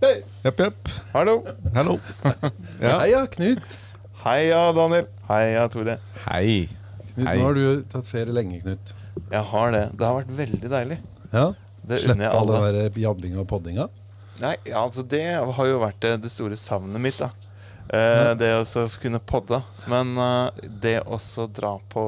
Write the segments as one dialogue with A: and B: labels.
A: Hei.
B: Jepp, jepp.
A: Hallo.
B: Hallo. Ja.
A: Heia, Knut.
C: Heia, Daniel. Heia, Tore.
B: Hei.
A: Knut
B: Hei.
A: Nå har du tatt ferie lenge, Knut.
C: Jeg har det. Det har vært veldig deilig.
A: Ja.
C: Det unner
A: Slippe
C: jeg
A: all
C: alle.
A: den der jabbinga og poddinga.
C: Nei, ja, altså Det har jo vært eh, det, det store savnet mitt. da eh, Det å så kunne podde. Men eh, det også dra på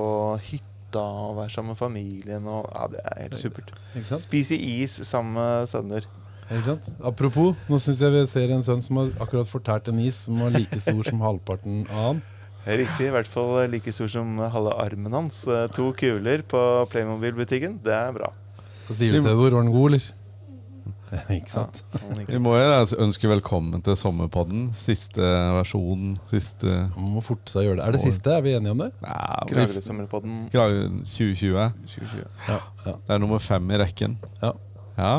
C: hytta og være sammen med familien og, ja, Det er helt supert.
A: Ikke sant?
C: Spise is sammen med sønner.
A: Ikke sant? Apropos, nå syns jeg vi ser en sønn som har akkurat fortært en is som var like stor som halvparten av han.
C: Riktig. I hvert fall eh, like stor som halve armen hans. Eh, To kuler på Playmobil-butikken. Det er bra.
A: Så sier du til Edvard, var den god, eller? Ikke sant?
C: Han liker
B: Vi må jo altså ønske velkommen til Sommerpodden. Siste versjon, siste
A: Man må forte seg å gjøre det. Er det siste? Er vi enige om det?
B: Nei, vi-
C: Kragerø-sommerpodden
B: Kragerø 2020.
C: 2020.
A: Ja. ja.
B: Det er nummer fem i rekken.
A: Ja.
B: Ja.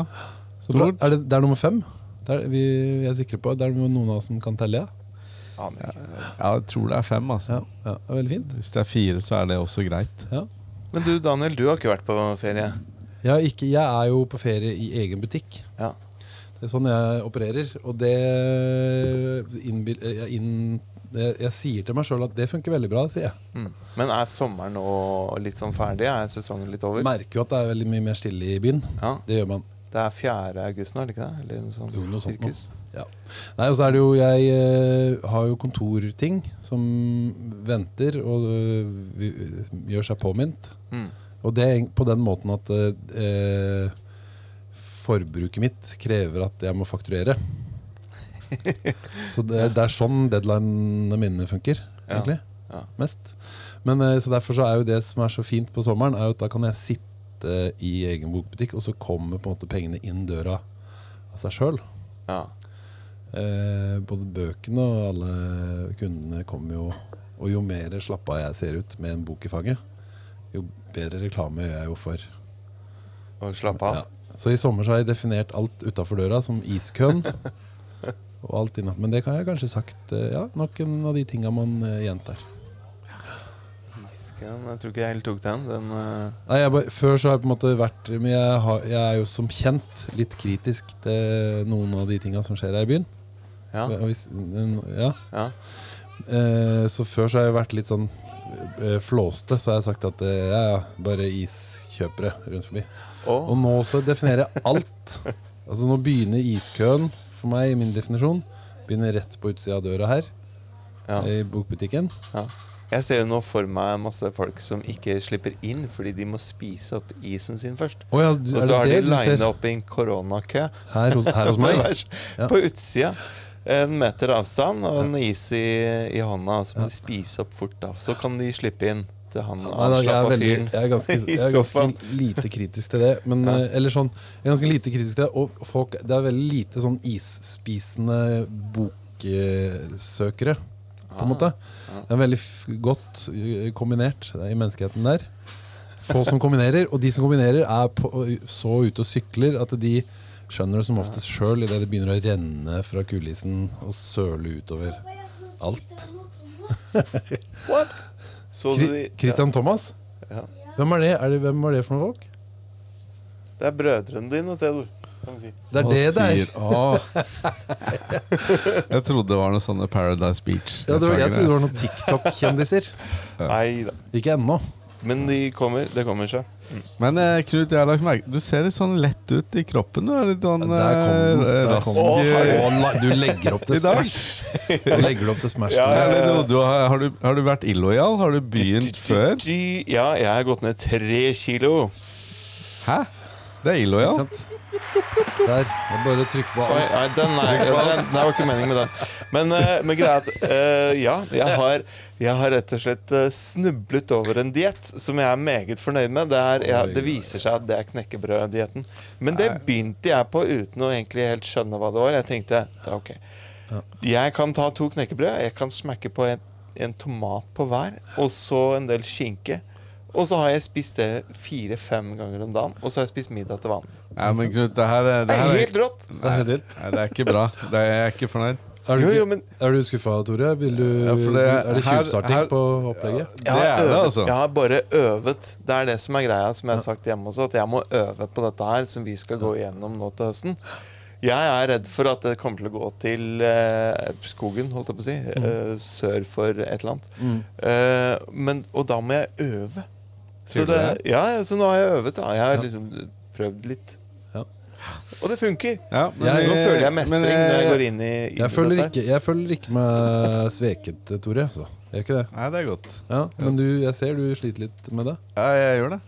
A: Så bra.
B: Stort.
A: Er det, det er nummer fem? Det er, vi, vi er sikre på. Det er noen av oss som kan telle, ja?
C: Aner ikke.
B: Ja, jeg tror det er fem, altså.
A: Ja, ja. Det er veldig fint.
B: Hvis det er fire, så er det også greit.
A: Ja.
C: Men du, Daniel, du har ikke vært på ferie?
A: Jeg, har ikke, jeg er jo på ferie i egen butikk.
C: Ja.
A: Det er sånn jeg opererer. Og det innbil, jeg, inn, det, jeg sier til meg sjøl at det funker veldig bra, sier jeg.
C: Mm. Men er sommeren nå litt sånn ferdig? Er sesongen litt over?
A: Merker jo at det er veldig mye mer stille i byen.
C: Ja,
A: Det gjør man.
C: Det er 4. august nå, er det ikke det? Eller noe sånt?
A: Jo, noe sånt
C: sirkus.
A: Ja. Nei, og så er det jo Jeg eh, har jo kontorting som venter og eh, vi- gjør seg påminnet.
C: Mm.
A: Og det er eng- på den måten at eh, eh, forbruket mitt krever at jeg må fakturere. så det, det er sånn deadlinene mine funker,
C: Ja,
A: egentlig.
C: ja.
A: Mest. Men eh, så derfor så er jo det som er så fint på sommeren, er jo at da kan jeg sitte i egen bokbutikk, og så kommer på en måte pengene inn døra av seg sjøl.
C: Ja.
A: Eh, både bøkene og alle kundene kommer jo Og jo mer slappa jeg ser ut med en bok i fanget, jo bedre reklame gjør jeg jo for.
C: Og slappe av.
A: Ja. Så i sommer så har jeg definert alt utafor døra som iskøen. og alt innafor. Men det kan jeg kanskje sagt. eh, Ja, nok en av de tinga man eh, gjentar.
C: Iskøen, Jeg tror ikke jeg helt tok den. den eh,
A: Nei, jeg bare, før så har jeg på en måte vært Men jeg, har, jeg er jo som kjent litt kritisk til noen av de tinga som skjer her i byen.
C: ja,
A: Og Hvis, n- ja.
C: ja.
A: Eh, så før så har jeg vært litt sånn eh, flåste, så har jeg sagt at eh, ja, ja, bare iskjøpere rundt forbi.
C: Og
A: Og nå så definerer jeg alt. Altså Nå begynner iskøen, for meg i min definisjon, begynner rett på utsida av døra her.
C: Ja.
A: I bokbutikken.
C: jeg ser jo nå for meg masse folk som ikke slipper inn fordi de må spise opp isen sin først.
A: Å ja, du,
C: Og
A: er
C: så har
A: det det
C: de
A: du ser
C: lina opp i en koronakø
A: her hos, her hos meg?
C: Bæsj.
A: Ja.
C: På utsida. En meter avstand og en is i, i hånda. Så må de spise opp fort. da Så kan de slippe inn til han
A: Nei, da, jeg, er
C: avslappa
A: veldig,
C: fyren.
A: jeg er ganske,
C: I
A: jeg er
C: sofaen.
A: ganske lite kritisk til det. Men,
C: Ja.
A: eh, eller sånn, jeg er ganske lite kritisk til det Og folk, det er veldig lite sånn isspisende boksøkere, på en måte. Det er veldig f godt eh, kombinert det er i menneskeheten der. Få som kombinerer. Og de som kombinerer, er på, så ute og sykler at de skjønner det som oftest sjøl idet det begynner å renne fra kulisen og søle utover alt.
C: What? Så du de
A: Kri- Christian Thomas?
C: Ja.
A: Hvem er det? Er det hvem var det for noen folk?
C: ja, Det er brødrene dine, Theodor. Kan du si.
A: Det er
B: Og
A: det det er.
B: sier- Åh. Jeg trodde det var noe sånne Paradise Beach.
A: Ja, det var, jeg trodde det var noen TikTok-kjendiser.
C: Nei da.
A: Ikke ennå.
C: Men de kommer. Det kommer seg.
B: Men eh, Knut, jeg har lagt merke Du ser litt sånn lett ut i kroppen. Du er litt sånn
A: Der kom den.
B: eh,
A: Der kom den.
B: rask.
C: Å, herregud.
A: Å, nei, du legger opp til
B: I dag.
A: Smash. Du legger opp til Smash.
C: Ja,
B: Er
A: du.
B: det noe du har, har, du, har du vært illojal? Har du begynt før?
C: Dy- Ja, jeg har gått ned tre kilo.
B: Hæ? Det er
A: Ikke
B: illojal.
A: sant? Der. Det er bare å trykke på
C: Oi,
A: alt.
C: nei, den er, den, den var ikke meningen med den. Men, eh, men greia er at eh, ja, jeg har, jeg har rett og slett eh, snublet over en diett som jeg er meget fornøyd med. Det, er, jeg, det viser seg at det er knekkebrøddietten. Men det begynte jeg på uten å egentlig helt skjønne hva det var. Jeg tenkte ja, ok, jeg kan ta to knekkebrød, jeg kan smekke på en, en tomat på hver, og så en del skinke. Og så har jeg spist det fire-fem ganger om dagen, og så har jeg spist middag til vanlig.
B: Nei, men Knut, det her, er-
C: Det
B: det
C: er
B: her er,
C: helt rått!
A: Det er helt vilt.
B: nei, det er ikke bra. Det er, jeg er ikke fornøyd.
A: Er du,
C: Jo, jo,
A: ikke-
C: men
A: er du skuffa, Tore? Vil du,
B: Ja, for det-
A: er det
B: her- her-
A: tjuvstarting på opplegget?
B: Det er det,
C: øvet-
B: altså.
C: jeg har bare øvet. Det er det som er greia, som jeg har sagt hjemme også, at jeg må øve på dette her, som vi skal gå igjennom nå til høsten. Jeg er redd for at det kommer til å gå til eh, skogen, holdt jeg på å si.
B: Mm.
C: eh, sør for et eller annet. Eh, men, og da må jeg øve.
B: Sier
C: Så,
B: du
C: det,
B: det?
C: ja, ja, så nå har jeg øvet. da Jeg har
A: Ja.
C: liksom prøvd litt.
A: Ja.
C: Og det funker!
B: Ja, eh,
A: Jeg-
C: nå føler jeg mestring
B: men, eh,
C: når jeg går inn i, i
A: Jeg føler,
C: dette.
A: ikke, jeg føler ikke meg sveket, Tore. Altså. Jeg gjør ikke det.
B: Nei, det er godt.
A: Ja, men du, jeg ser du sliter litt med det.
B: Ja, jeg gjør det.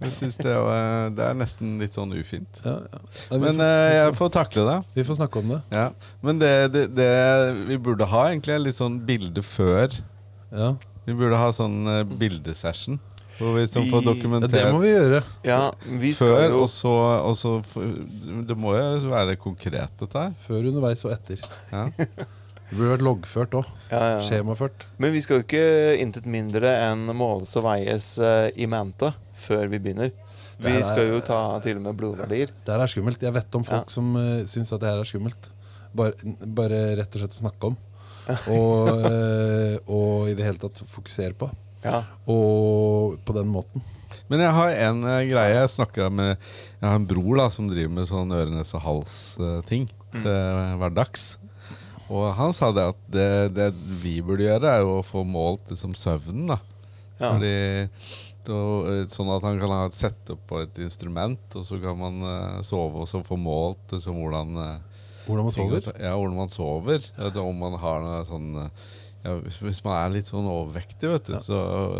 B: Jeg synes det, var- det er nesten litt sånn ufint.
A: Ja, ja. Nei, vi,
B: Men
A: får,
B: eh, jeg får takle det.
A: vi får snakke om det.
B: Ja. Men det, det, det vi burde ha, egentlig, er litt sånn bilde før.
A: Ja.
B: Vi burde ha sånn eh, bildesession. Hvor vi liksom
A: ja, det
B: får
C: I-
A: må
B: dokumentert
A: vi gjøre.
C: Ja, vi skal
B: før,
C: jo
B: og så, og så f- Det må jo være konkret, dette her.
A: Før, underveis og etter.
B: Ja.
A: Det burde vært loggført òg.
C: ja, ja.
A: Skjemaført.
C: Men vi skal jo ikke intet mindre enn måles og veies eh, i mente før vi begynner. Vi
A: Det er-
C: skal jo ta til og med blodverdier.
A: Det her er skummelt. Jeg vet om folk
C: Ja.
A: som uh, syns at det her er skummelt. Bare, bare rett og slett å snakke om. Og, eh, og i det hele tatt fokusere på.
C: Ja.
A: Og på den måten.
B: Men jeg har en eh, greie. Jeg snakket med Jeg har en bror da som driver med sånn øre, nese, hals-ting
C: Mm.
B: til hverdags. Og han sa det at det, det vi burde gjøre, er jo å få målt liksom søvnen. da
C: Ja.
B: Fordi, da, eh, Sånn at han kan ha sette opp på et instrument, og så kan man eh, sove og så få målt liksom, hvordan eh,
A: Hvordan man sover.
B: Ja, hvordan man sover. At om man har noe sånn ja, hvis- Hvis man er litt sånn overvektig, vet du,
A: Ja.
B: så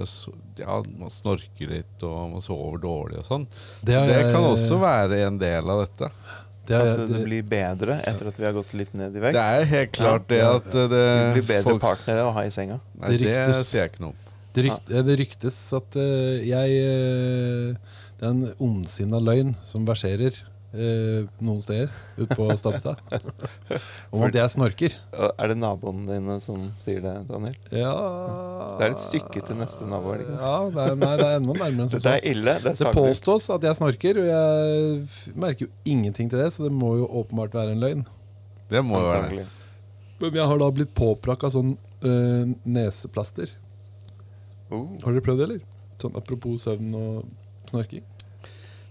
B: så- ja, man snorker litt og man sover dårlig og sånn.
A: Det har
B: Det,
A: jeg-
B: kan også være en del av dette.
A: eh, Det er-
C: At det blir bedre etter at vi har gått litt ned i
B: Det
C: vekt.
B: er helt klart det
A: Ja.
B: at eh,
C: Vi
B: det
C: blir bedre partnere å ha i senga.
B: Nei,
A: Det
B: det
A: ryktes.
B: sier jeg ikke noe om.
A: Det, rykt, eh, det ryktes at eh, jeg eh, Det er en ondsinna løgn som verserer eh, noen steder ute på Stabstad. Om at jeg snorker.
C: Og Er det naboene dine som sier det, Daniel?
A: Ja
C: Det er et stykke til neste nabo, er det ikke det?
A: Ja, det er, nei, det er enda nærmere enn som
C: Dette
A: så.
C: er ille. Det er
A: Det
C: saklig.
A: påstås at jeg snorker, og jeg f- merker jo ingenting til det, så det må jo åpenbart være en løgn.
B: Det må jo være det.
C: Antakelig.
A: Men jeg har da blitt påprakka sånn eh, neseplaster.
C: Oh.
A: Har dere prøvd det, eller? Sånn apropos søvn og snorking.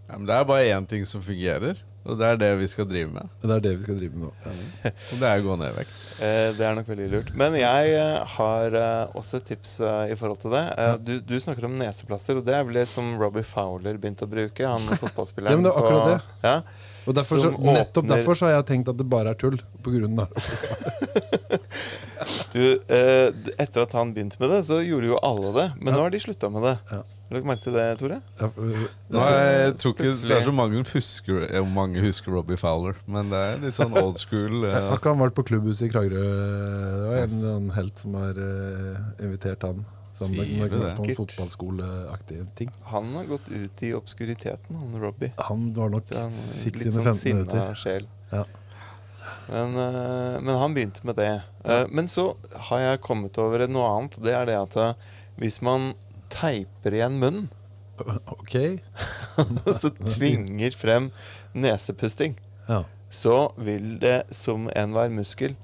B: Ja, men det er bare én ting som fungerer, og det er det vi skal drive med.
A: Det er det vi skal drive med nå. Ja.
B: Og det er å gå ned i vekt.
C: Eh, Det er nok veldig lurt. Men jeg eh, har eh, også et tips eh, i forhold til det. Eh, Du, du snakker om neseplaster, og det er vel det som Robbie Fowler begynte å bruke. Han fotballspilleren.
A: Ja, men det er akkurat
C: på-
A: det.
C: Ja.
A: Og derfor, så,
C: Som
A: nettopp
C: åpner-
A: derfor så har jeg tenkt at det bare er tull. På grunn av
C: Du, eh, d- etter at han begynte med det, så gjorde jo alle det. Men nå har de slutta med det.
A: Ja.
C: Har du lagt merke til det, Tore?
A: Ja, øh,
B: Nå, jeg tror ikke
C: Plutselig.
B: det er så mange som husker, eh, mange husker Robbie Fowler, men det er litt sånn old school. eh,
A: Har ikke han vært på klubbhuset i Kragerø? Det var en sånn helt som har øh, invitert han. Sammen med
B: Sier
A: med
B: du det?
A: noen
C: Gitt.
A: fotballskoleaktige ting.
C: Han har gått ut i obskuriteten, han Robbie.
A: Han var nok
C: Så han
A: fikk
C: litt
A: sine 15
C: sånn sinna
A: minutter.
C: sjel.
A: Ja.
C: Men, eh, men han begynte med det. Eh, men så har jeg kommet over noe annet. Det er det at eh, hvis man teiper igjen munnen,
A: Ok.
C: så tvinger frem nesepusting,
A: Ja.
C: så vil det som enhver muskel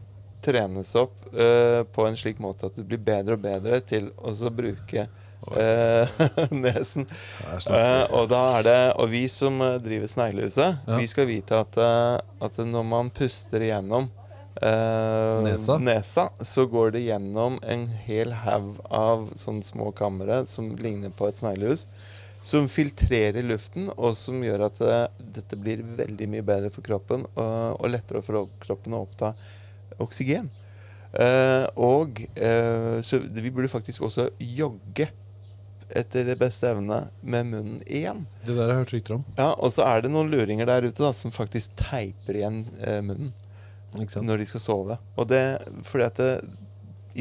C: trenes opp eh, på en slik måte at du blir bedre og bedre til å så bruke eh, nesen.
A: Det er snart.
C: Eh, og da er det Og vi som eh, driver Sneglehuset,
A: Ja.
C: vi skal vite at, eh, at når man puster igjennom eh,
A: Nesa.
C: nesa, så går det gjennom en hel haug av sånne små kamre som ligner på et sneglehus. Som filtrerer luften, og som gjør at eh, dette blir veldig mye bedre for kroppen. Og, og lettere for kroppen å oppta oksygen. Eh, og eh, så vi burde faktisk også jogge etter det beste evne med munnen igjen.
A: Det der har jeg hørt rykter om.
C: Ja, Og så er det noen luringer der ute da, som faktisk teiper igjen eh, munnen
A: Ikke sant?
C: når de skal sove. Og det fordi at eh,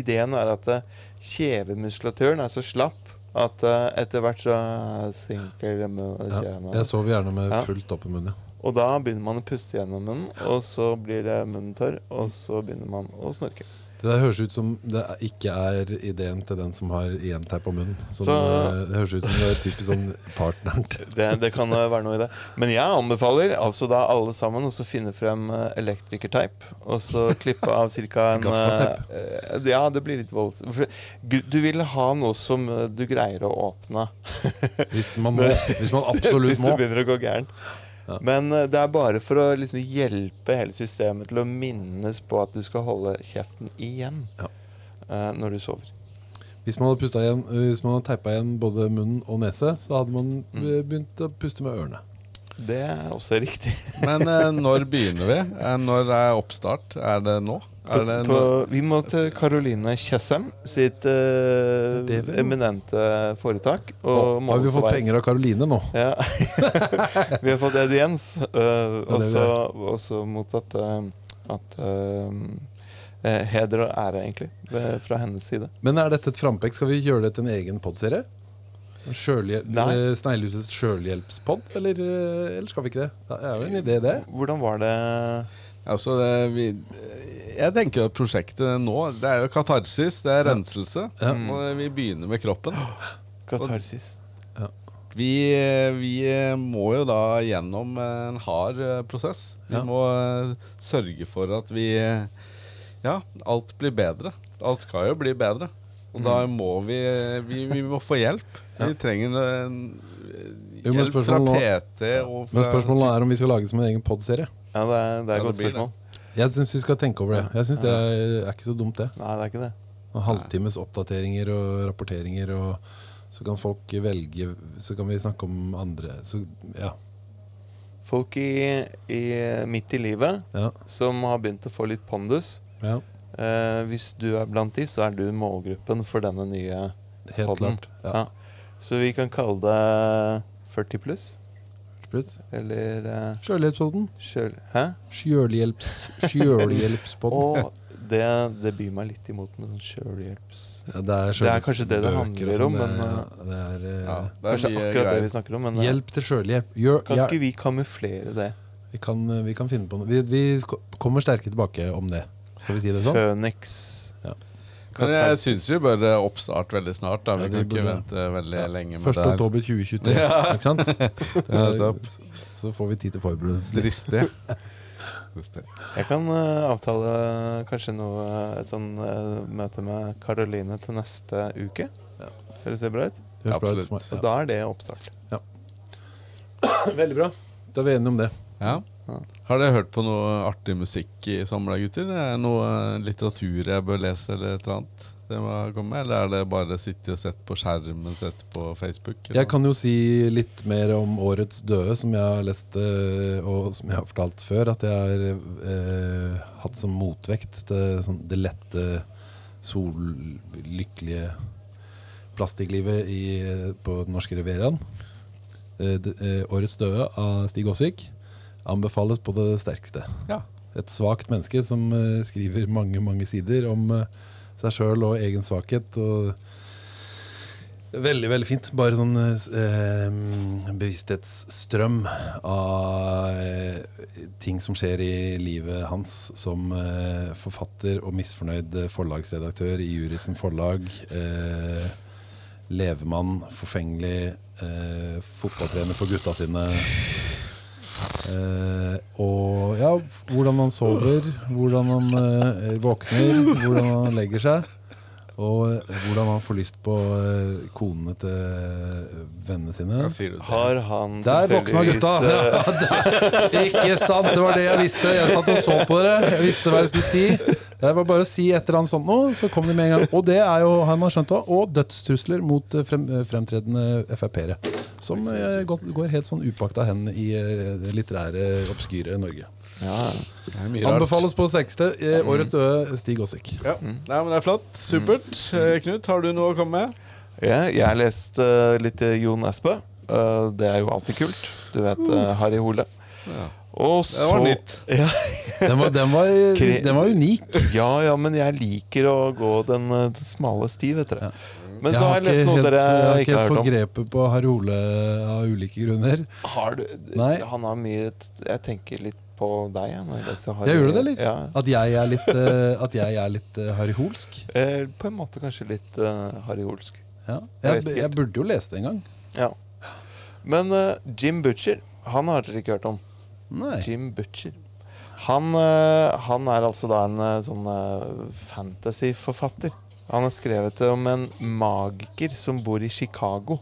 C: ideen er at eh, kjevemuskulaturen er så slapp at eh, etter hvert så eh, synker det med
A: Ja.
C: kjevene.
A: Jeg sover gjerne med
C: Ja.
A: fullt opp i munnen. ja.
C: Og da begynner man å puste gjennom munnen, og så blir det munnen tørr, og så begynner man å snorke.
A: Det der høres ut som det er- ikke er ideen til den som har igjenteip på munnen. Som,
C: Så-
A: eh, det høres ut som det er typisk sånn partneren til
C: Det, det kan eh, være noe i det. Men jeg anbefaler altså da alle sammen å så finne frem eh, elektrikerteip. Og så klippe av ca. en
A: Gaffateip.
C: eh, eh, Ja, det blir litt voldsomt. For gu- Du vil ha noe som eh, du greier å åpne
A: Hvis man må. Hvis man absolutt
C: hvis det
A: må.
C: begynner å gå gærent. Men eh, det er bare for å liksom hjelpe hele systemet til å minnes på at du skal holde kjeften igjen
A: Ja.
C: eh, når du sover.
A: Hvis man hadde, pustet igjen, eh, hvis man hadde teipa igjen både munn og nese, så hadde man eh,
C: Mm.
A: begynt å puste med ørene.
C: Det er også riktig.
B: Men eh, når begynner vi? Eh, Når er oppstart? Er det nå? Er det
C: på,
B: nå?
C: vi må til Caroline Tjessem sitt eh,
A: Det er det vi må.
C: eminente foretak. Og
A: Har vi fått penger av Karoline nå?
C: Ja. vi har fått audiens, øh,
A: Ja,
C: og
A: det
C: så også mottatt øh, at øh, eh, heder og ære, egentlig, ved- fra hennes side.
A: Men er dette et frampek? Skal vi gjøre det til en egen podserie? En sjølhjel-
C: Nei.
A: eh, Sneglehusets sjølhjelpspod, eller, eh, eller skal vi ikke det? Det er jo en idé, det.
C: Hvordan var det
B: Altså, det, vi, jeg tenker at prosjektet nå Det er jo katarsis, det er renselse.
A: Ja.
B: Og vi begynner med kroppen.
C: katarsis?
B: Vi, vi må jo da gjennom en hard eh, prosess. Vi
A: Ja.
B: må eh, sørge for at vi eh, Ja, alt blir bedre. Alt skal jo bli bedre. Og da
A: Mm.
B: må vi Vi, vi må få hjelp. Vi trenger en,
A: Jo, men
B: hjelp fra
A: spørsmålet nå-
B: PT og
A: Men
B: fra
A: spørsmålet er om vi skal lage det som en egen podserie.
C: Ja, det er, det er
B: Ja,
C: et
B: det
C: godt
B: blir det.
C: spørsmål.
A: Jeg syns vi skal tenke over det. Jeg synes Det er, er ikke så dumt, det.
C: Nei, det er ikke det.
A: Og halvtimes oppdateringer og rapporteringer, og så kan folk velge Så kan vi snakke om andre Så ja.
C: Folk i, i, midt i livet
A: ja,
C: som har begynt å få litt pondus
A: ja
C: eh, Hvis du er blant de, så er du målgruppen for denne nye
A: helt
C: podden.
A: klart.
C: Ja.
A: Ja.
C: Så vi kan kalle det 40 pluss,
A: Pluss.
C: eller eh,
A: Sjølhjelpspodden.
C: sjøl... Hæ?
A: Sjølhjelps, sjølhjelpspodden.
C: Og det, det byr meg litt imot med sånn sjølhjelps...
A: Ja, det, er
C: Det er kanskje det det
A: sjølhjelpsbøker
C: handler
A: og sånn,
C: om, men,
A: det, ja, det er, eh,
B: ja, det er
C: Kanskje
B: mye
C: akkurat det
B: greier.
C: vi snakker om, men eh,
A: Hjelp til sjølhjelp. Gjør-
C: kan
A: ja,
C: ikke vi kamuflere det?
A: vi, kan, eh, vi kan finne på noe. Vi, vi ko- kommer sterke tilbake om det. Skal vi si det sånn?
C: Føniks
A: Ja.
B: Men jeg syns vi bør eh, oppstart veldig snart. Da. Vi
A: Ja,
B: kan
A: vi
B: ikke
A: burde-
B: vente veldig lenge
A: 1.
B: med det. her.
A: oktober 2023, ikke sant?
B: nettopp.
A: Så- så får vi tid til forberedelse.
B: Dristig. Dristig.
C: Jeg kan eh, avtale kanskje noe eh, et sånn eh, møte med Karoline til neste uke.
A: Ja.
C: Høres det bra ut?
A: Det høres bra ut for meg.
B: Absolutt.
C: Og da er det oppstart.
A: Veldig bra. Da er vi enige om det.
B: Ja. Har dere hørt på noe artig musikk i sommer, da, gutter? Er det noe eh, litteratur jeg bør lese, eller et eller annet? Det må komme, eller er det bare å sitte og sette på skjermen, sette på Facebook? eller
A: Jeg kan jo si litt mer om Årets døde, som jeg har lest eh, og som jeg har fortalt før. At jeg har eh, hatt som motvekt til sånn, det lette, sollykkelige plastikklivet i, på den norske rivieraen. Eh, det- eh, Årets døde av Stig Aasvik anbefales på det sterkeste.
B: noe? Ja.
A: Et svakt menneske som eh, skriver mange, mange sider om eh, seg sjøl og egen svakhet. Og veldig, veldig fint. Bare sånn eh, s- eh, bevissthetsstrøm av eh, ting som skjer i livet hans som eh, forfatter og misfornøyd eh, forlagsredaktør i Jurisen Forlag. Eh, levemann, forfengelig, eh, fotballtrener for gutta sine. Eh, og ja, f- hvordan han sover, hvordan han eh, våkner, hvordan han legger seg. Og eh, hvordan han får lyst på eh, konene til eh, vennene sine.
B: Hva sier du til det?
C: Har han
A: Der våkna
C: tilfeldigvis,
A: gutta!
C: eh,
A: Ja, der. Ikke sant, det var det jeg visste. Jeg satt og så på dere. Jeg visste hva jeg skulle si. Det var bare å si et eller annet sånt nå, så kom de med en gang. Og det er jo, han har skjønt det også, og dødstrusler mot eh, frem, eh, fremtredende Frp-ere. Som eh, godt- går helt sånn upakta hen i eh, det litterære, obskyre Norge.
C: eh, ja,
B: Det er mye rart.
A: Anbefales på sterkeste. eh, Årets døde Stig Aasvik.
B: Ja. Nei, men det er flott. Supert. Eh, Knut, har du noe å komme med?
C: ja, jeg har lest eh, litt eh, Jon Espe. Eh, det er jo alltid kult. Du vet
A: Mm.
C: eh, Harry Hole.
B: Ja.
C: Og
B: Det
C: så
B: var nytt.
C: Ja,
A: Den var, den var,
C: Kre-
A: den var unik.
C: ja, ja, men jeg liker å gå den, eh, den smale sti, vet dere. Men
A: Jeg
C: så har
A: har
C: jeg
A: ikke
C: lest noe
A: helt,
C: dere
A: jeg har
C: ikke har
A: helt fått
C: hørt om.
A: grepet på Harry Ole av ulike grunner.
C: Har du,
A: Nei.
C: Han har mye Jeg tenker litt på deg. jeg, Når jeg leser Harry.
A: Jeg gjør det, eller?
C: Ja.
A: At jeg er litt, uh, at jeg er litt eh, Harry Holsk.
C: Eh, på en måte kanskje litt eh, Harry Olsk.
A: Ja.
C: Jeg
A: Jeg,
C: vet ikke
A: jeg burde jo lese det en gang.
C: Ja. Men eh, Jim Butcher, han har dere ikke hørt om.
A: Nei.
C: Jim Butcher. Han, eh, han er altså da en eh, sånn eh, fantasyforfatter. Han har skrevet om en magiker som bor i Chicago.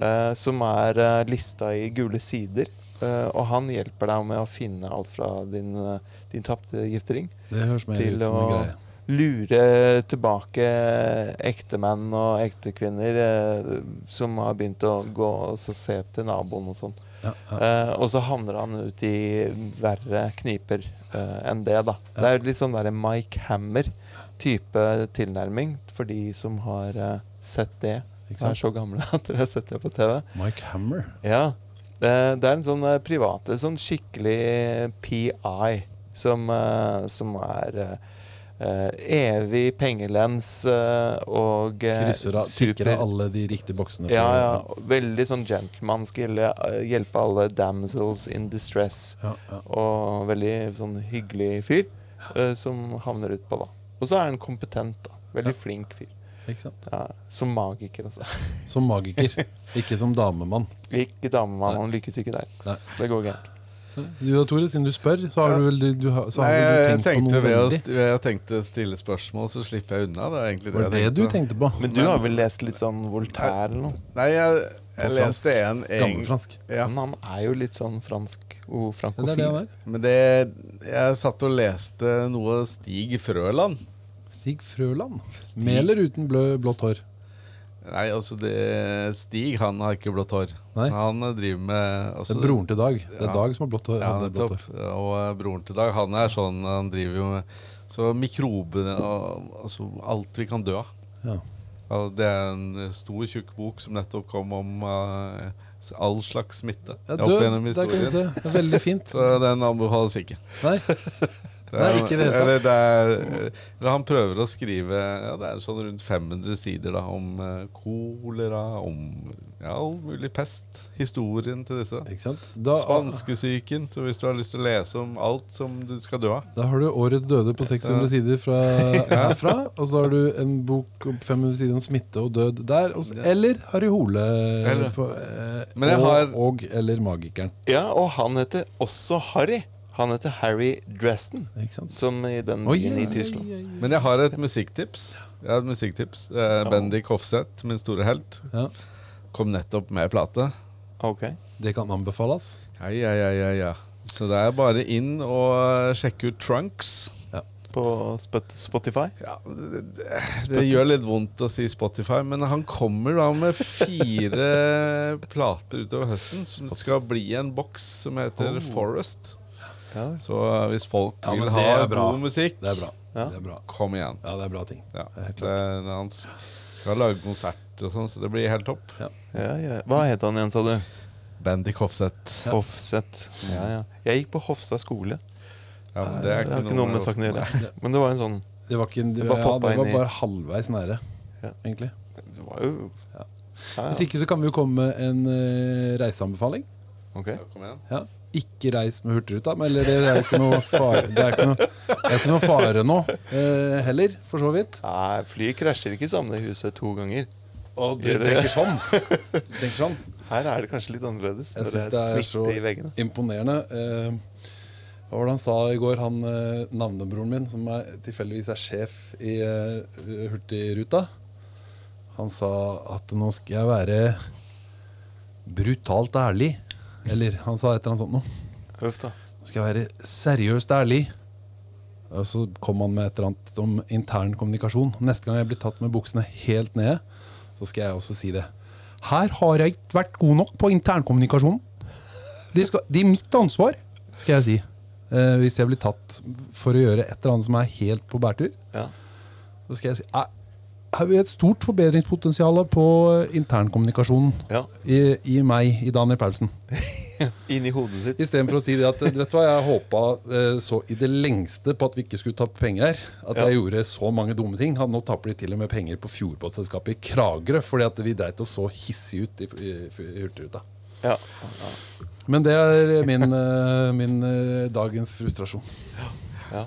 C: eh, som er eh, lista i Gule sider. Eh, og han hjelper deg med å finne alt fra din, eh, din tapte giftering
A: Det høres mer
C: Til
A: ut som
C: å-
A: en greie.
C: lure tilbake ektemenn og ektekvinner eh, som har begynt å gå og så se til naboen og sånn.
A: Ja, ja.
C: Eh, og så havner han ut i verre kniper eh, enn det, da. Det er litt sånn derre Mike Hammer-type tilnærming for de som har eh, sett det.
A: Ikke
C: Og er
A: sant?
C: så gamle at dere har sett det på TV.
A: Mike Hammer.
C: Ja. Det, det er en sånn eh, private, sånn skikkelig PI som, eh, som er eh, eh, evig pengelens eh, og eh,
A: Krysser av,
C: super-
A: tikker av alle de riktige boksene. på-
C: Ja, ja. Veldig sånn gentleman. Skal eh, hjelpe alle damsels in distress.
A: Ja, ja.
C: Og veldig sånn hyggelig fyr eh, som havner utpå, da. Og så er han kompetent, da. Veldig flink fyr.
A: Ikke sant?
C: Ja, som magiker, altså.
A: Som magiker, ikke som damemann.
C: Ikke damemann, han lykkes ikke der.
A: Nei.
C: Det går gærent.
A: Du da, Tore, siden du spør, så har
B: Ja.
A: du vel du, har, så har
B: Nei,
A: vel
B: jeg
A: du tenkt på
B: tenkte
A: noe
B: ved å
A: veldig.
B: st- ved jeg tenkte stille spørsmål, så slipper jeg unna. Det er egentlig det,
A: Var det
B: jeg
A: du
B: på.
A: tenkte på?
C: Men du har vel lest litt sånn Voltaire eller noe?
B: Nei, jeg,
A: På
B: jeg
A: fransk.
B: leste en egen
A: Gammelfransk.
B: ja.
C: Men han er jo litt sånn fransk
A: Det er det han
C: og frankofil.
A: er.
B: Men det Jeg satt og leste noe Stig Frøland.
A: Stig Frøland. Med eller uten blø, blått hår?
B: Nei, altså det Stig, han har ikke blått hår.
A: Nei.
B: Han driver med
A: Det
B: altså,
A: er broren til Dag. Det er
B: Ja.
A: Dag som har blått hår.
B: Ja,
A: hadde blått
B: nettopp.
A: hår.
B: Og eh, broren til Dag, han er sånn Han driver jo med Så mikrobene og altså alt vi kan dø av.
A: Ja.
B: Ja, Det er en stor, tjukk bok som nettopp kom om eh, all slags smitte.
A: Jeg
B: opp
A: er
B: gjennom
A: død. Der kan du se.
B: historien.
A: Det er veldig fint.
B: Så den anbefales ikke.
A: Nei,
B: Det
A: Nei, ikke i det hele tatt.
B: eller det er, eller Han prøver å skrive ja, Det er sånn rundt 500 sider da, om eh, kolera, om ja, all mulig pest. Historien til disse.
A: ikke sant? Da,
B: Spanskesyken. Så hvis du har lyst til å lese om alt som du skal dø av
A: da har du Året døde på 600 sider fra, herfra, og så har du en bok om 500 sider om smitte og død der. Og, s- eller Harry Hole
B: Eller-
A: på, eh,
B: Men jeg
A: og,
B: har-
A: og eller Magikeren.
C: Ja, og han heter også Harry. Han heter Harry Dresden,
A: Ikke sant?
C: som i den
A: Oi,
C: byen
A: oi,
C: i Tyskland.
A: oi, oi.
B: Men jeg har et musikktips. Jeg har et musikktips eh, Bendik Hofseth, min store helt,
A: Ja,
B: kom nettopp med plate.
C: Ok.
A: det kan anbefales.
B: Ja, ja, ja, ja, ja. Så det er bare inn og eh, sjekke ut Trunks.
C: På Spot- Spotify.
B: Ja, det, det, det gjør litt vondt å si Spotify, men han kommer da med fire plater utover høsten som skal bli en boks som heter Forest.
C: Ja, vel.
B: Så eh, hvis folk
A: Oh. Ja, men
B: vil
A: det
B: ha
A: er bra.
B: god musikk,
A: Det er bra.
C: Ja.
A: Det er bra.
B: kom igjen.
A: Ja, det er bra ting.
B: Ja,
A: Det er helt
B: det, han skal lage konsert og sånn, så det blir helt topp.
C: ja, ja. Hva het han igjen, sa du?
B: Bendik Hofseth.
C: Hofset. Ja, ja. Jeg gikk på Hofstad skole.
B: Ja, men det er
C: Det har
B: ikke
C: ikke noe med saken å gjøre. Men det var en sånn
A: Det var, ikke, en-
C: Det
A: ja,
C: bare poppa
A: det var
C: inn i-
A: bare halvveis nære,
C: Ja.
A: egentlig.
C: Det var jo
A: Ja.
C: Ja,
A: Hvis
C: ja.
A: ikke så kan vi jo komme med en eh, reiseanbefaling.
C: Ok.
B: Ja, kom igjen.
A: Ja. Ikke reis med Hurtigruta, men eller det er jo ikke noe fare, det er ikke noe, det er ikke noe fare nå eh, heller, for så vidt.
C: Nei, flyet krasjer ikke i samme huset to ganger.
A: Og
C: du tenker
A: sånn? Du tenker sånn?
C: Her er det kanskje litt annerledes.
A: Jeg
C: når
A: syns det er så
C: smitte i veggene.
A: imponerende. Eh, hva var det han sa i går, han eh, navnebroren min, som er, tilfeldigvis er sjef i eh, Hurtigruta? Han sa at nå skal jeg være brutalt ærlig. Eller han sa et eller annet sånt noe.
C: Huff da.
A: Nå skal jeg være seriøst ærlig. Og så kom han med et eller annet om intern kommunikasjon. Neste gang jeg blir tatt med buksene helt nede, så skal jeg også si det. Her har jeg ikke vært god nok på internkommunikasjon. Det, skal- det er mitt ansvar, skal jeg si. Eh, hvis jeg blir tatt for å gjøre et eller annet som er helt på bærtur,
C: Ja.
A: så skal jeg si «Nei, Har vi et stort forbedringspotensial på internkommunikasjonen
C: ja.
A: i, i meg, i Daniel Paulsen?
C: Inni hodet sitt.
A: Istedenfor å si det at Vet du hva, jeg håpa eh, så i det lengste på at vi ikke skulle tape penger her. At jeg gjorde så mange dumme ting. At nå taper de til og med penger på fjordbåtselskapet i Kragerø fordi at vi dreit oss så hissig ut i, i, i Hurtigruta.
C: Ja.
A: Men det er min, eh, min eh, dagens frustrasjon.
C: Ja.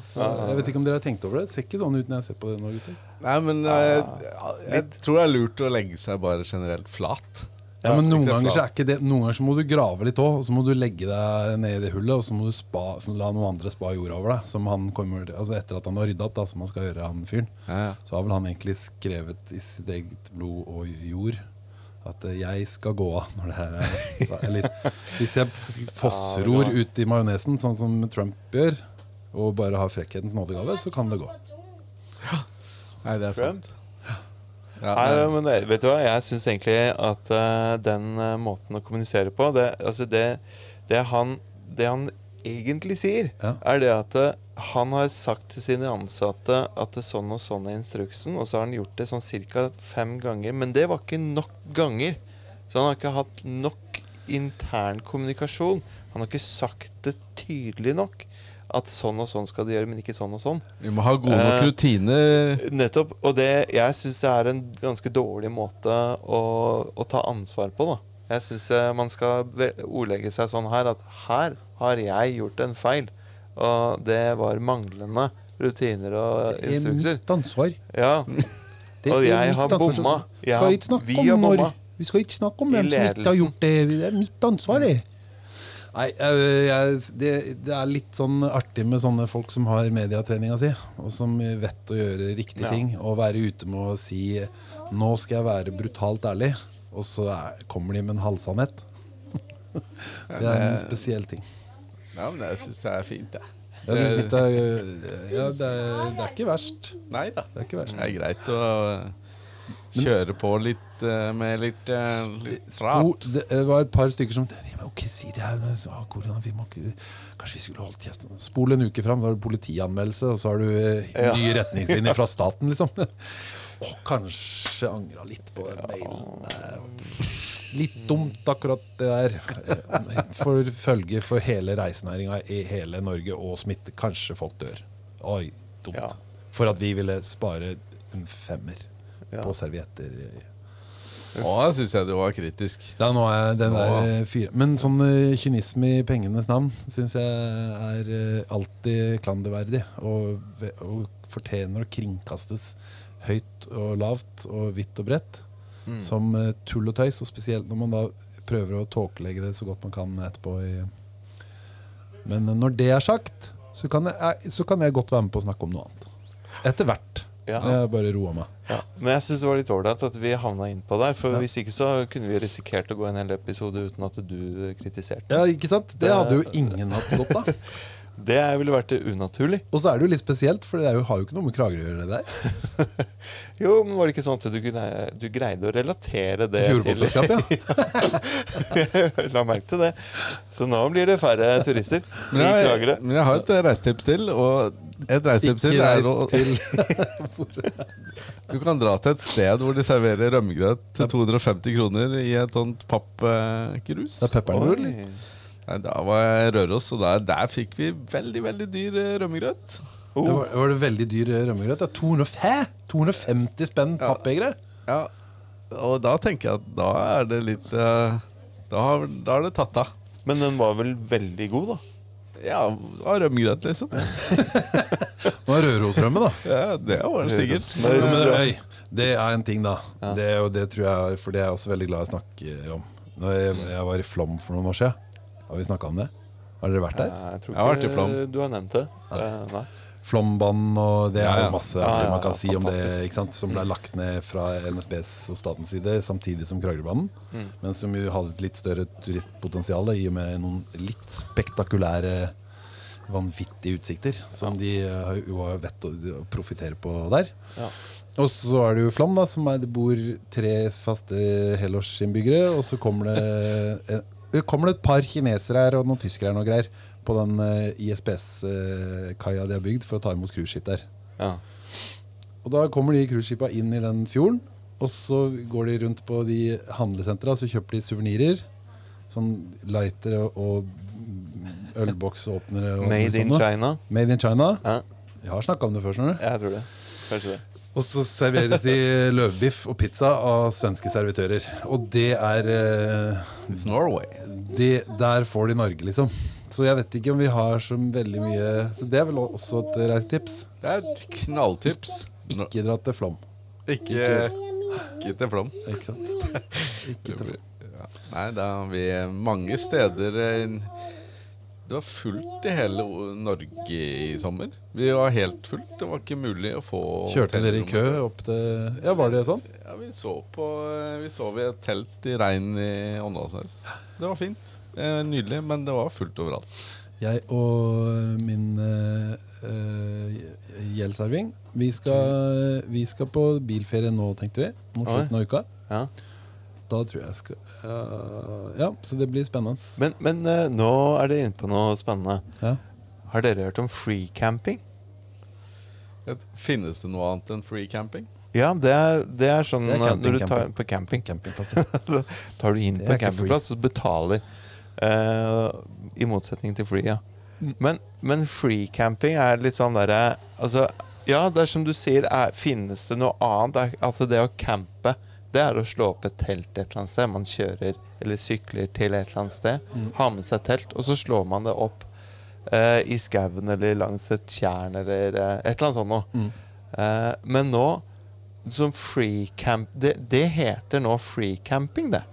A: Så eh, jeg vet ikke om dere har tenkt over det. Det ser ikke sånn ut når jeg ser på det nå, gutter.
B: Nei, men jeg,
A: Ah,
B: jeg tror det er lurt å legge seg bare generelt flat.
A: Ja, men noen
B: ikke
A: ganger, så
B: flat.
A: er ikke det, noen ganger så må du grave litt òg, og så må du legge deg ned i det hullet, og så må du spa, la noen andre spa jorda over deg. Som han kommer, altså etter at han har rydda opp, da, som han skal gjøre, han fyren.
B: Ja, ja.
A: Så har vel han egentlig skrevet i sitt eget blod og jord At eh, jeg skal gå av når det her er Eller hvis jeg f- fossror ut i majonesen, sånn som Trump gjør, og bare har frekkhetens nådegave, så kan det gå.
B: Nei, det er sant.
C: Trump?
B: Ja,
C: Nei, men det- vet du hva, jeg syns egentlig at eh, den eh, måten å kommunisere på Det, altså det, det, han, det han egentlig sier,
A: Ja.
C: er det at eh, han har sagt til sine ansatte at det er sånn og sånn er instruksen, og så har han gjort det sånn ca. fem ganger. Men det var ikke nok ganger. Så han har ikke hatt nok intern kommunikasjon. Han har ikke sagt det tydelig nok. At sånn og sånn skal de gjøre, men ikke sånn og sånn.
B: vi må ha gode nok
C: Eh,
B: rutiner.
C: Nettopp. Og det, jeg syns det er en ganske dårlig måte å, å ta ansvar på, da. Jeg syns man skal ve- ordlegge seg sånn her at her har jeg gjort en feil. Og det var manglende rutiner og
A: Det er
C: instrukser.
A: mitt ansvar.
C: Ja.
A: Det
C: Og
A: er
C: jeg
A: mitt
C: har
A: ansvar.
C: bomma.
A: Vi skal
C: Jeg har-
A: ikke snakke
C: vi
A: om
C: har
A: når-
C: bomma.
A: Vi skal ikke snakke om
C: I
A: hvem som ikke har
C: ledelsen.
A: gjort det. Det er mitt ansvar, det. Nei, jeg, jeg, det, det er litt sånn artig med sånne folk som har mediatreninga si, og som vet å gjøre riktige
C: Ja.
A: ting, og være ute med å si 'nå skal jeg være brutalt ærlig', og så er, kommer de med en halvsannhet. Det er en spesiell ting.
B: Ja, men jeg syns det er fint, jeg.
A: Ja, du synes det, er, ja, det, er, det er ikke verst.
B: Nei da.
A: Det er ikke verst.
B: Det er greit å kjøre på litt eh, med litt eh,
A: Spor,
B: prat.
A: det eh, var et par stykker som Vi må ikke si det her. så, ah, korona, vi må ikke, kanskje vi skulle holdt kjeft. Spol en uke fram, da har du politianmeldelse, og så har du eh,
C: Ja.
A: nye retningslinjer fra staten, liksom. Og kanskje angra litt på den mailen. Det er Litt dumt, akkurat det der. Eh, For følger for hele reisenæringa i hele Norge og smitte. Kanskje folk dør. Oi, dumt.
C: Ja.
A: For at vi ville spare en femmer
C: Ja.
A: på servietter.
B: Nå syns jeg du var kritisk.
A: Ja, nå er jeg den
B: Nå,
A: der
B: ja.
A: eh, fyr. Men sånn eh, kynisme i pengenes navn syns jeg er eh, alltid klanderverdig. Og, ve- og fortjener å kringkastes høyt og lavt og vidt og bredt. Som eh, tull og tøys, og spesielt når man da prøver å tåkelegge det så godt man kan etterpå. I Men eh, når det er sagt, så kan, jeg, eh, så kan jeg godt være med på å snakke om noe annet. Etter hvert.
C: Ja.
A: Når Jeg bare roer meg.
C: Ja. Men jeg syns det var litt ålreit at vi havna innpå der. For hvis ikke så kunne vi risikert å gå en hel episode uten at du kritiserte.
A: Ja, ikke sant? Det hadde jo ingen hatt godt av.
C: Det ville vært unaturlig.
A: Og så er det jo litt spesielt, for det er jo, har jo ikke noe med Kragerø å gjøre. det der
C: Jo, men var det ikke sånn at du, grei- du greide å relatere det
A: Fjordbollselskapet, ja.
C: La merke til det. Så nå blir det færre turister i
B: Men jeg,
C: Kragerø.
B: men jeg har et eh, reisetips til, og et reisetips
A: Ikke
B: til er
A: reis
B: å
A: til
B: Du kan dra til et sted hvor de serverer rømmegrøt til 250 kroner i et sånt pappkrus.
A: Det er pepperen vår, eller?
C: Oi.
B: Nei, da var jeg i Røros, og der, der fikk vi veldig, veldig dyr eh, rømmegrøt.
A: Det var, var det veldig dyr eh, rømmegrøt? Det er 200, hæ? 250 spenn pappegre?
B: Ja, og da tenker jeg at da er det litt eh, Da, har- da er det tatt av.
C: Men den var vel veldig god, da.
B: Ja, det var rømmegrøt, liksom.
A: Det var Rørosrømme, da.
B: Ja, det var det sikkert.
C: Røros.
A: Jo, men
B: Men,
A: øy, det er en ting, da. Det, og det tror jeg, For det er jeg også veldig glad i å snakke om. Når jeg, jeg var i Flom for noen år siden. Har vi snakka om det? Har dere vært der?
C: Jeg tror
B: Jeg har vært i
C: ikke
B: Flom.
C: du har nevnt det. Eh, Nei.
A: Flombanen og Det er
B: Ja,
A: jo
B: ja.
A: masse
C: Ja, ja,
A: man kan
C: ja,
A: si om det
C: fantastisk.
A: ikke sant? som ble lagt ned fra NSBs og statens side samtidig som Kragerøbanen.
C: Mm.
A: Men som jo hadde et litt større turistpotensial i og med noen litt spektakulære, vanvittige utsikter som de eh, har jo har vett å å profittere på der.
C: Ja.
A: Og så er det jo Flom, da, som er, det bor tre faste helårsinnbyggere. Og så kommer det, eh, kommer det et par kinesere her og noen tyskere her og noe greier på den eh, ISBS-kaia eh, de har bygd for å ta imot cruiseskip der.
C: Ja.
A: Og da kommer de cruiseskipa inn i den fjorden, og så går de rundt på de handlesentra og så kjøper de suvenirer. Sånn lightere og ølboksåpnere. og
C: Made
A: sånne.
C: in China.
A: Made in China.
C: Ja,
A: Jeg har snakka om det før. skjønner du
C: jeg tror det. Kanskje det.
A: Og så serveres de løvbiff og pizza av svenske servitører. Og det er eh,
B: It's Norway.
A: det, Der får de Norge, liksom. Så jeg vet ikke om vi har så veldig mye Så det er vel også et reisetips.
B: Det er et knalltips. Nå-
A: Ikke dra til Flom.
B: Ikke, ikke til Flom.
A: Ikke sant? Ikke til Flom.
B: Ja. Nei, da har vi mange steder eh, Det var fullt i hele O- Norge i sommer. Vi var helt fullt. Det var ikke mulig å få
A: Kjørte dere i kø
B: hotellrom.
A: opp til Ja, var det sånn?
B: Ja, vi så på eh, Vi sov i et telt i regn i Åndalsnes. Det var fint. Eh, Nydelig, men det var fullt overalt.
A: Jeg og min eh, eh, gjeldsarving vi skal, vi skal på bilferie nå, tenkte vi. Mot
C: Oi.
A: slutten av uka.
C: Ja.
A: Da tror jeg jeg skal eh, Ja, så det blir spennende.
C: Men, men eh, nå er dere inne på noe spennende.
A: Ja.
C: Har dere hørt om free camping?
B: Et- Finnes det noe annet enn free camping?
C: Ja, det er, det er sånn
A: Det er
C: eh,
A: camping,
C: når du tar på camping.
A: Campingplasser.
C: Da tar du inn
A: Det
C: på
A: er ikke
C: en
A: free.
C: campingplass og betaler. eh, I motsetning til free, ja.
A: Mm.
C: Men, men free camping er litt sånn derre Altså, ja, det er som du sier, er, finnes det noe annet? Er, altså, det å campe, det er å slå opp et telt et eller annet sted. Man kjører eller sykler til et eller annet sted,
A: Mm.
C: har med seg telt, og så slår man det opp eh, i skauen eller langs et tjern eller eh, et eller annet sånt noe.
A: Mm.
C: Eh, men nå som free camp det, det heter nå free camping, det.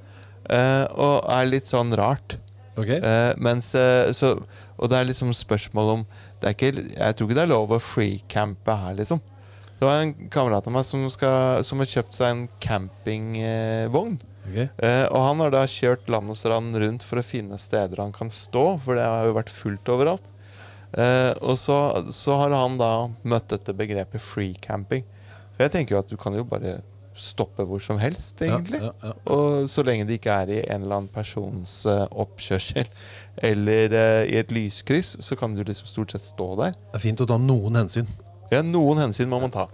C: Eh, og er litt sånn rart.
A: Ok?
C: Eh, mens, eh, så, og det er liksom spørsmål om det er ikke, Jeg tror ikke det er lov å freecampe her, liksom. Det var en kamerat av meg som, skal, som har kjøpt seg en campingvogn.
A: ok.
C: Eh, og han har da kjørt land og strand rundt for å finne steder han kan stå, for det har jo vært fullt overalt. Eh, og så, så har han da møtt dette begrepet free camping. For jeg tenker jo at du kan jo bare stoppe hvor som helst, egentlig.
A: Ja, ja, ja.
C: Og så lenge det ikke er i en eller annen persons eh, oppkjørsel eller eh, i et lyskryss, så kan du liksom stort sett stå der.
A: Det er fint å ta noen hensyn.
C: Ja, noen hensyn må man ta.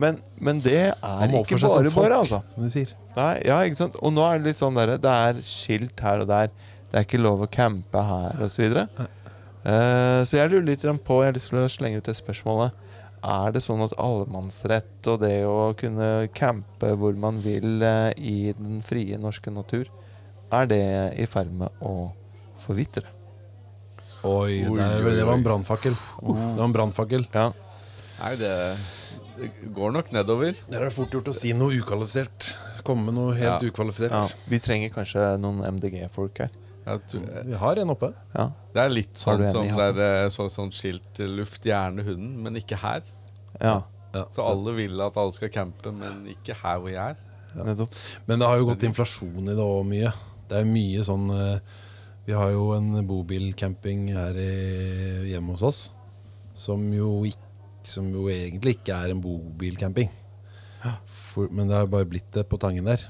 C: Men, men det
A: Man
C: er
A: må
C: ikke
A: oppføre seg som
C: bare
A: folk,
C: bare, altså.
A: Som de sier.
C: Nei, ja, ikke sant? Og nå er det litt sånn der, det er skilt her og der. Det er ikke lov å campe her osv. Så, videre. Eh, så jeg lurer litt grann på Jeg har lyst til å slenge ut det spørsmålet. Er det sånn at allemannsrett og det å kunne campe hvor man vil eh, i den frie norske natur, er det i ferd med å forvitre?
A: Oi,
B: Oi,
A: der,
B: oi,
A: det var
B: oi.
A: en brannfakkel. Det var en brannfakkel.
C: Ja.
B: Nei, det, det går nok nedover.
A: Der er det fort gjort å si noe ukvalifisert. Komme med noe helt
B: Ja.
A: ukvalifisert.
C: ja. Vi trenger kanskje noen MDG-folk her.
B: Jeg tror, eh,
A: Vi har en oppe.
C: Ja.
B: det er litt
C: Har du
B: sånn
C: en i
B: som
C: hatten?
B: der, eh, så, sånn skilt til luft, gjerne hunden, men ikke her.
C: ja.
A: Ja.
B: Så alle vil at alle skal campe, men ikke her hvor jeg er.
C: Nettopp.
A: Men det har jo gått inflasjon i det òg mye. Det er mye sånn eh, Vi har jo en bobilcamping her i, hjemme hos oss som jo, ikk- som jo egentlig ikke er en bobilcamping. For, men det har bare blitt det på tangen der.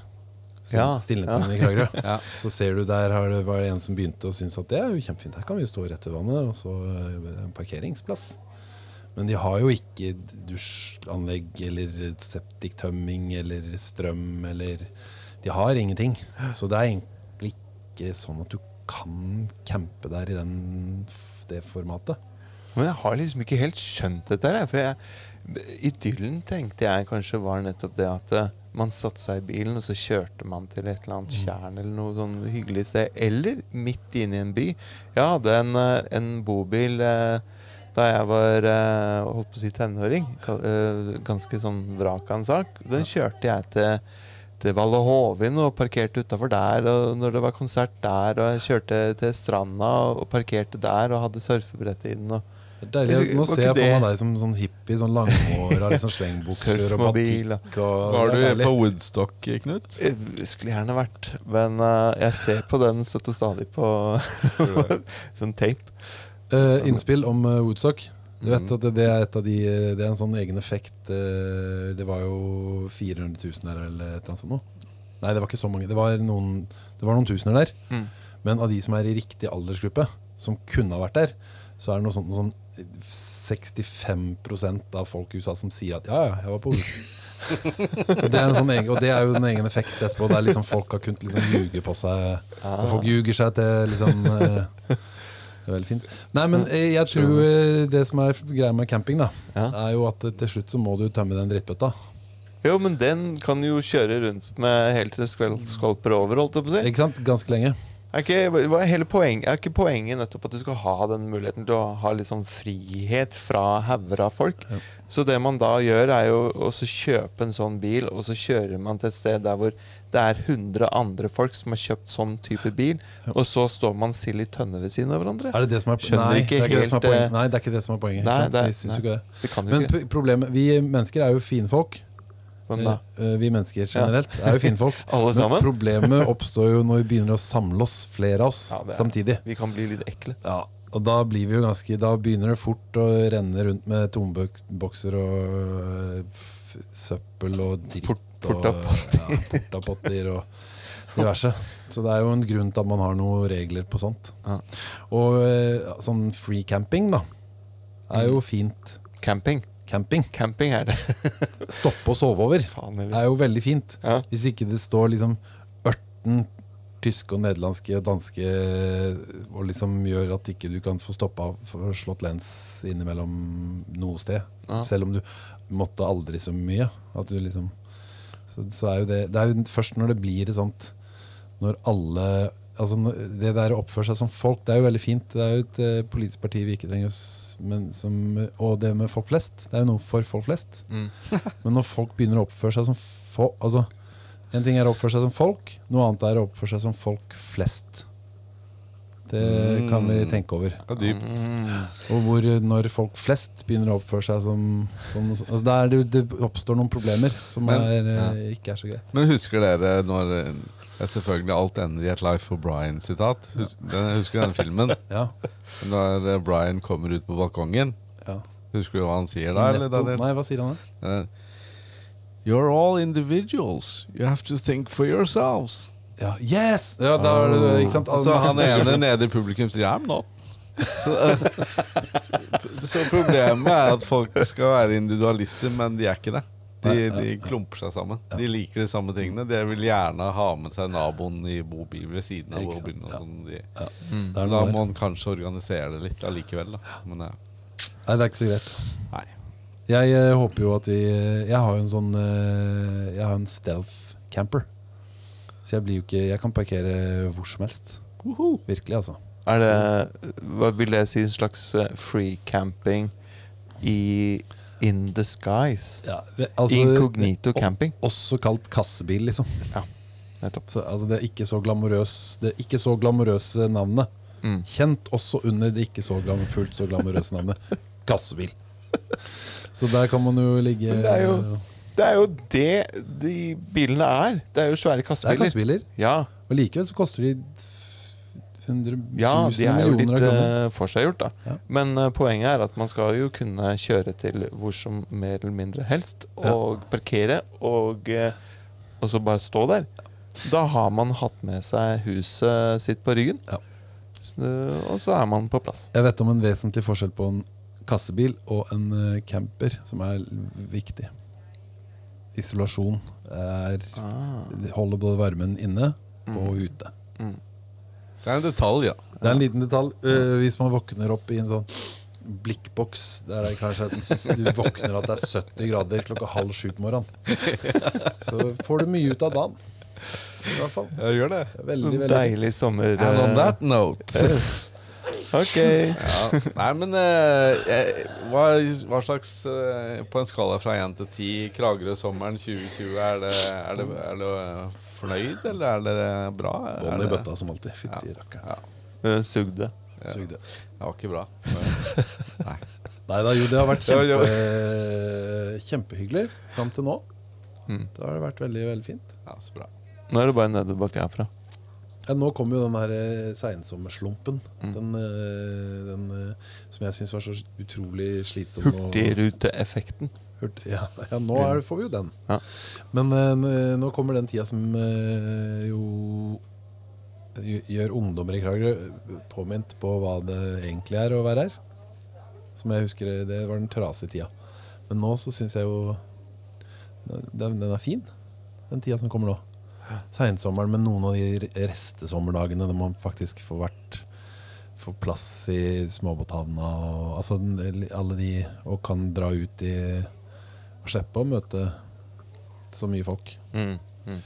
A: Stil-
C: Ja,
A: Stillnesingen i Kragerø.
B: Ja.
A: Så ser du der har det, var det en som begynte å synes at det er jo kjempefint, her kan vi jo stå rett ved vannet, og så eh, en parkeringsplass. Men de har jo ikke dusjanlegg eller septiktømming eller strøm eller De har ingenting. Så det er egentlig ikke sånn at du kan campe der i den, f- det formatet.
C: Men jeg har liksom ikke helt skjønt dette her. jeg, For jeg, idyllen tenkte jeg kanskje var nettopp det at eh, man satte seg i bilen, og så kjørte man til et eller annet tjern eller noe sånn hyggelig sted. Eller midt inne i en by. Jeg hadde en, eh, en bobil eh, da jeg var eh, holdt på å si tenåring. Ka- eh, Ganske sånn vrak av en sak. Den kjørte jeg til til Valle Hovin og parkerte utafor der. Og når det var konsert der, og jeg kjørte til stranda og parkerte der og hadde surfebrettet inn. og
A: Det er deilig. Nå
C: Var
A: ser jeg
C: ikke
A: for meg
C: det-
A: deg som sånn hippie, sånn langhåra, liksom slengbukser og
C: Surfmobil,
A: batikk.
C: ja.
A: Og
B: Var
A: det er
B: du på
A: deilig.
B: Woodstock, eh, Knut?
C: Jeg Eh, skulle gjerne vært, men eh, jeg ser på den støtt og stadig på som tape.
A: Eh, innspill om eh, Woodstock. Du vet at det, det er et av de eh, Det er en sånn egen effekt. eh, det var jo 400 000 der eller et eller annet sånt noe. Nei, det var ikke så mange. Det var noen, det var noen tusener der.
C: Mm.
A: Men av de som er i riktig aldersgruppe, som kunne ha vært der, så er det noe sånt som 65 av folk i USA som sier at ja, ja, jeg var på Woodstock. det er en sånn egen, og det er jo en egen effekt etterpå, der liksom folk har kunnet liksom ljuge på seg. Og folk ljuger seg til liksom eh, det er veldig fint. Nei, men eh, jeg tror eh, det som er greia med camping, da,
C: Ja.
A: er jo at eh, til slutt så må du tømme den drittbøtta.
C: Jo, men den kan jo kjøre rundt med helt til det skvel- skvalper over, holdt jeg på å si.
A: Ikke sant? Ganske lenge.
C: Er ikke, hva er, hele poeng, er ikke poenget nettopp at du skal ha den muligheten til å ha litt sånn frihet fra hauger av folk? Så det man da gjør, er jo å så kjøpe en sånn bil, og så kjører man til et sted der hvor det er 100 andre folk som har kjøpt sånn type bil, og så står man sild i tønne ved siden av hverandre.
A: Er det det som er
C: Skjønner
A: Nei,
C: ikke
A: det er ikke det
C: helt,
A: som er poenget.
C: eh,
A: Nei, det er ikke det som er poenget. Ikke
C: Nei,
A: sant?
C: det er-
A: Vi syns jo ikke det.
C: Det kan jo
A: Men
C: ikke
A: p- problemet Vi mennesker er jo finfolk.
C: Hvem da?
A: Eh, eh, Vi mennesker generelt er jo finfolk.
C: Alle
A: Men
C: sammen?
A: problemet oppstår jo når vi begynner å samle oss, flere av oss,
C: Ja, det er-
A: samtidig.
C: Vi kan bli litt ekle.
A: Ja, og da blir vi jo ganske Da begynner det fort å renne rundt med tombokser og øh, f søppel og dritt
C: Port-
A: og ja, portapotter og diverse. Så det er jo en grunn til at man har noen regler på sånt.
C: Ja.
A: Og øh, sånn free camping, da, er
C: Mm.
A: jo fint.
C: Camping.
A: Camping.
C: Camping er det.
A: Stoppe og sove over
C: Faen heller.
A: er jo veldig fint.
C: Ja.
A: Hvis ikke det står liksom ørten tyske og nederlandske og danske og liksom gjør at ikke du kan få stoppa for slått lens innimellom noe sted.
C: Ja.
A: Selv om du måtte aldri så mye. At du liksom så, så er jo det Det er jo først når det blir et sånt Når alle Altså når- Det der å oppføre seg som folk, det er jo veldig fint. Det er jo et eh, politisk parti vi ikke trenger å s- men som, Og det med folk flest. Det er jo noe for folk flest.
C: Mm.
A: Men når folk begynner å oppføre seg som folk altså, En ting er å oppføre seg som folk, noe annet er å oppføre seg som folk flest. Det kan vi
B: Mm.
A: tenke over.
B: Det er dypt.
C: Mm.
A: Og hvor eh, når folk flest begynner å oppføre seg som sånn, altså, Da er det, jo- det oppstår noen problemer som
B: Men-
A: er, eh, ikke er så greie.
B: Men husker dere når eh, Selvfølgelig alt ender i et Life of Brian-sitat. Hus, den- Husker dere den filmen?
A: Ja.
B: Når eh, Brian kommer ut på balkongen.
A: ja.
B: Husker du hva han sier da? Eller,
A: Netto-
B: Daniel?
A: Nei, hva sier han da?
B: Eh, You're all individuals. You have to think for yourselves.
A: Ja, yes! Ja, da er det, ikke sant?
B: Så
A: Alle-
B: Altså, han ene nede i publikum sier I'm not. Så, eh, p- så problemet er at folk skal være individualister, men de er ikke det. De, de klumper seg sammen. De liker de samme tingene. De vil gjerne ha med seg naboen i bobil ved siden av
A: Ikke sant,
B: bobilen. og
A: ja.
B: sånn. De-
A: Det
B: Så
A: er
B: da
A: noe
B: må
A: der.
B: man kanskje organisere det litt allikevel. Da. Men eh,
A: Nei, det er ikke så greit.
B: nei.
A: Jeg eh, håper jo at vi Jeg har jo en sånn eh, Jeg har en stealth camper. Så jeg blir jo ikke Jeg kan parkere hvor som helst. Virkelig, altså.
C: Er det Hva vil jeg si? En slags eh, free camping i In the skies.
A: det, altså
C: Incognito
A: det-
C: camping.
A: Også kalt kassebil, liksom.
C: Nettopp.
A: Så, altså, det er ikke så glamorøs Det er ikke så glamorøse navnet.
C: Mm.
A: Kjent også under det ikke så glam, fullt så glamorøse navnet kassebil. Så der kan man jo ligge
C: Men det er jo- Det er jo det de bilene er. Det er jo svære
A: Det er
C: kassebiler.
A: kassebiler.
C: Ja,
A: Og likevel så koster de 100
C: ja, de
A: 000
C: er jo
A: millioner
C: litt
A: av kroner.
C: eh, forseggjort, da.
A: Ja.
C: Men eh, poenget er at man skal jo kunne kjøre til hvor som mer eller mindre helst,
A: Ja.
C: og parkere, og, eh, og så bare stå der. Da har man hatt med seg huset sitt på ryggen,
A: Ja.
C: Så det- og så er man på plass.
A: Jeg vet om en vesentlig forskjell på en kassebil og en eh, camper, som er l- viktig. Isolasjon er Ah, Holder både varmen inne og ute.
B: Det er en detalj, Mm. ja.
A: Det er en liten detalj. eh, hvis man våkner opp i en sånn blikkboks der det kanskje er, sånn- du våkner at det er 70 grader klokka halv sju på morgenen, så får du mye ut av dagen. I hvert fall.
B: Jeg gjør det.
A: Det er Veldig, veldig
C: Deilig sommer.
B: And on
C: eh,
B: that note
C: yes. Ok.
B: Ja. Nei, men eh, jeg, hva, hva slags eh, På en skala fra 1 til 10 Kragerø-sommeren 2020, er det, er, det, er det eh, fornøyd, eller er det bra? Er
A: Bånn i
B: det-
A: bøtta som alltid. Fytti
B: Ja.
A: rakkeren.
B: Ja,
C: Eh, Sugde.
A: Sug det.
B: det var ikke bra. Nei.
A: Nei da, jo, det har vært
B: Ja, ja.
A: kjempe, kjempehyggelig fram til nå.
B: Mm.
A: Da har det vært veldig veldig fint.
B: Ja, så bra.
C: Nå er det bare nedoverbakke herfra.
A: Ja, nå kom jo den her eh, seinsommerslumpen. Den, eh, den eh, som jeg syns var så utrolig slitsom. og-
C: Hurtigruteeffekten.
A: Hurtig, ja, ja, nå er, får vi jo den.
C: Ja.
A: Men eh, n- nå kommer den tida som eh, jo gj- gjør ungdommer i Kragerø eh, påminnet på hva det egentlig er å være her. Som jeg husker, det- det var den trasige tida. Men nå så syns jeg jo den, den er fin, den tida som kommer nå. Seinsommeren med noen av de re- restesommerdagene der man faktisk får vært Får plass i småbåthavna og, altså, den- alle de, og kan dra ut i og slippe å møte så mye folk.
C: Mm.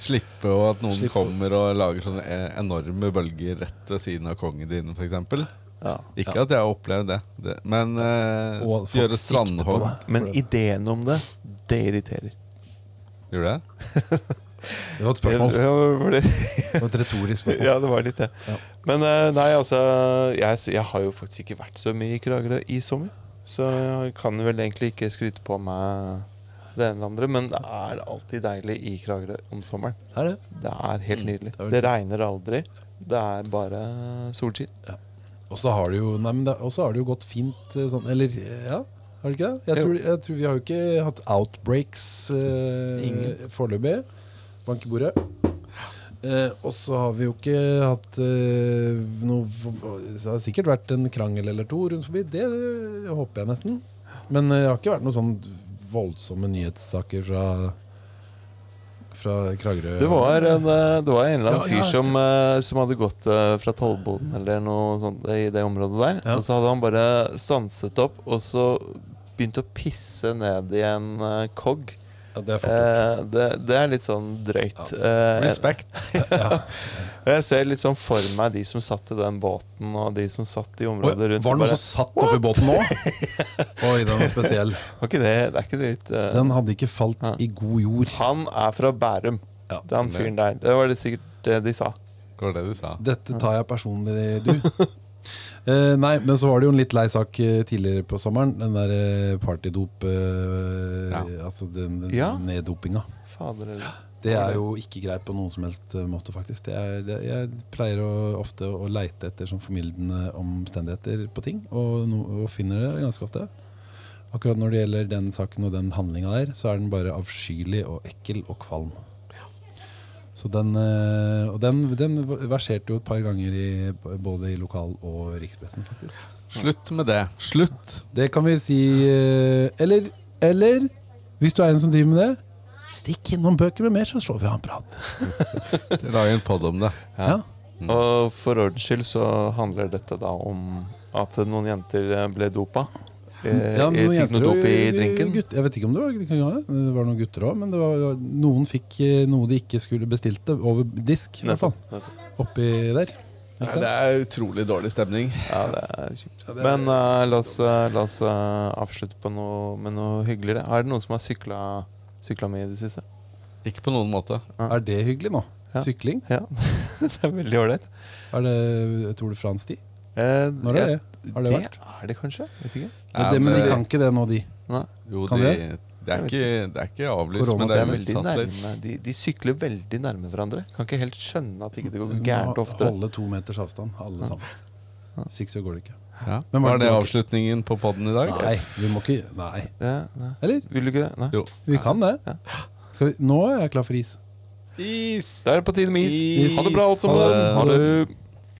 B: Slippe og at noen
A: Slippe.
B: kommer og lager sånne e- enorme bølger rett ved siden av kongen din, f.eks.
C: Ja.
B: Ikke at jeg har opplevd det, det men eh,
A: Og at folk sikter
B: gjøre
A: på
B: strandhogg
A: deg.
C: Men ideen om det, det irriterer.
B: Gjør det?
A: Det var et
C: Ja,
A: spørsmål.
C: for det-
A: Det var et retorisk spørsmål.
C: Ja, det var litt det.
A: Ja.
C: Men eh, nei, altså jeg, jeg har jo faktisk ikke vært så mye i Kragerø i sommer. Så jeg kan vel egentlig ikke skryte på meg det ene eller andre. Men det er alltid deilig i Kragerø om sommeren.
A: Det er det.
C: Det er helt nydelig.
A: Mm, det er vel-
C: Det regner aldri. Det er bare solskinn.
A: Og så har det jo Nei, men det, og så har det jo gått fint eh, sånn Eller eh, ja, har det ikke det? Jeg
C: Jo.
A: tror, jeg tror Vi har jo ikke hatt outbreaks eh,
C: Ingen.
A: foreløpig. Bank i bordet. Eh, og så har vi jo ikke hatt eh, noe Det har sikkert vært en krangel eller to rundt forbi. Det eh, håper jeg nesten. Men eh, det har ikke vært noen sånn voldsomme nyhetssaker fra Fra Kragerø.
C: Det var en, eh, det var en eller annen
A: Ja, ja,
C: fyr som, eh, som hadde gått eh, fra tollboden eller noe sånt i det området der.
A: Ja.
C: Og så hadde han bare stanset opp, og så begynt å pisse ned i en eh, kogg.
A: ja, det er faktisk,
C: Eh, det, det er litt sånn drøyt. Eh,
B: Respekt.
C: og jeg ser litt sånn for meg de som satt i den båten, og de som satt i
A: Oi, Var
C: området
A: det
C: Eh, rundt. og
A: noen
C: bare,
A: som satt oppi båten nå? Oi, den er spesiell.
C: var ikke det, det er ikke det litt eh,
A: Den hadde ikke falt
C: Ja.
A: i god jord.
C: Han er fra Bærum,
A: Ja.
C: den fyren der. Det var det sikkert det de sa.
B: Det var det du sa.
A: Dette tar jeg personlig, du. Eh, nei, men så var det jo en litt lei sak eh, tidligere på sommeren. Den der eh, partydop eh,
B: Ja.
A: Altså den, den
C: Ja.
A: neddopinga.
C: Fader eller
A: Det er jo ikke greit på noen som helst eh, måte, faktisk. Det er, det, jeg pleier å, ofte å leite etter sånn formildende omstendigheter på ting, og, no, og finner det ganske ofte. Akkurat når det gjelder den saken og den handlinga der, så er den bare avskyelig og ekkel og kvalm. Så den, eh, og den, den verserte jo et par ganger i, både i lokal- og rikspressen, faktisk.
B: Slutt med det. Slutt.
A: Det kan vi si eh, Eller, eller hvis du er en som driver med det, stikk innom bøker med mer, så slår vi av en prat.
B: Lag en pod om det.
A: Ja.
C: Og for ordens skyld så handler dette da om at noen jenter eh, ble dopa. Eh,
A: Ja,
C: jeg
A: noen
C: fikk
A: jenter
C: noe
A: og
C: dop i drinken.
A: Gutt, jeg vet ikke om det var, det kan være- det var noen gutter òg, men det var, noen fikk eh, noe de ikke skulle bestilte, over disk. I hvert fall,
C: Nettopp, nettopp.
A: oppi der. Ikke sant?
B: er utrolig dårlig stemning.
C: Ja, det er kjipt. Men eh, la oss, eh, la oss eh, avslutte på noe, med noe hyggeligere. Er det noen som har sykla, sykla mye i det siste?
B: Ikke på noen måte.
A: Er det hyggelig nå?
C: Ja.
A: Sykling?
C: Ja, det er veldig ålreit.
A: Er det Tour de France-tid?
C: Eh,
A: Når er det? Har det
C: det
A: vært?
C: er det kanskje? Vet ikke.
A: Men, det, men de kan ikke det nå, de.
C: Nei,
B: Jo,
A: Kan
B: de,
A: det?
B: det, er ikke, det er ikke avlyst,
A: Korona-
B: men
C: det
B: det
C: er
B: er
C: veldig
B: utsatt litt.
C: nærme. De, de sykler veldig nærme hverandre. Kan ikke helt skjønne at ikke det
A: Vi
C: går
A: må
C: gærent oftere.
A: Holde to meters avstand, alle sammen. Hvis ikke så går det ikke.
B: Ja.
A: Men var
B: Var
A: det
B: det
A: ikke-
B: avslutningen på poden i dag?
A: Nei, vi må ikke Nei.
C: Ja, nei.
A: Eller?
C: Vil du ikke det? Nei.
B: Jo.
A: Vi kan det. Skal vi, nå er jeg klar for is.
B: Is!
C: Da er det på tide med is.
B: Is.
C: Ha det bra, alt
A: Ha
C: sammen.
B: det.
C: Ha det.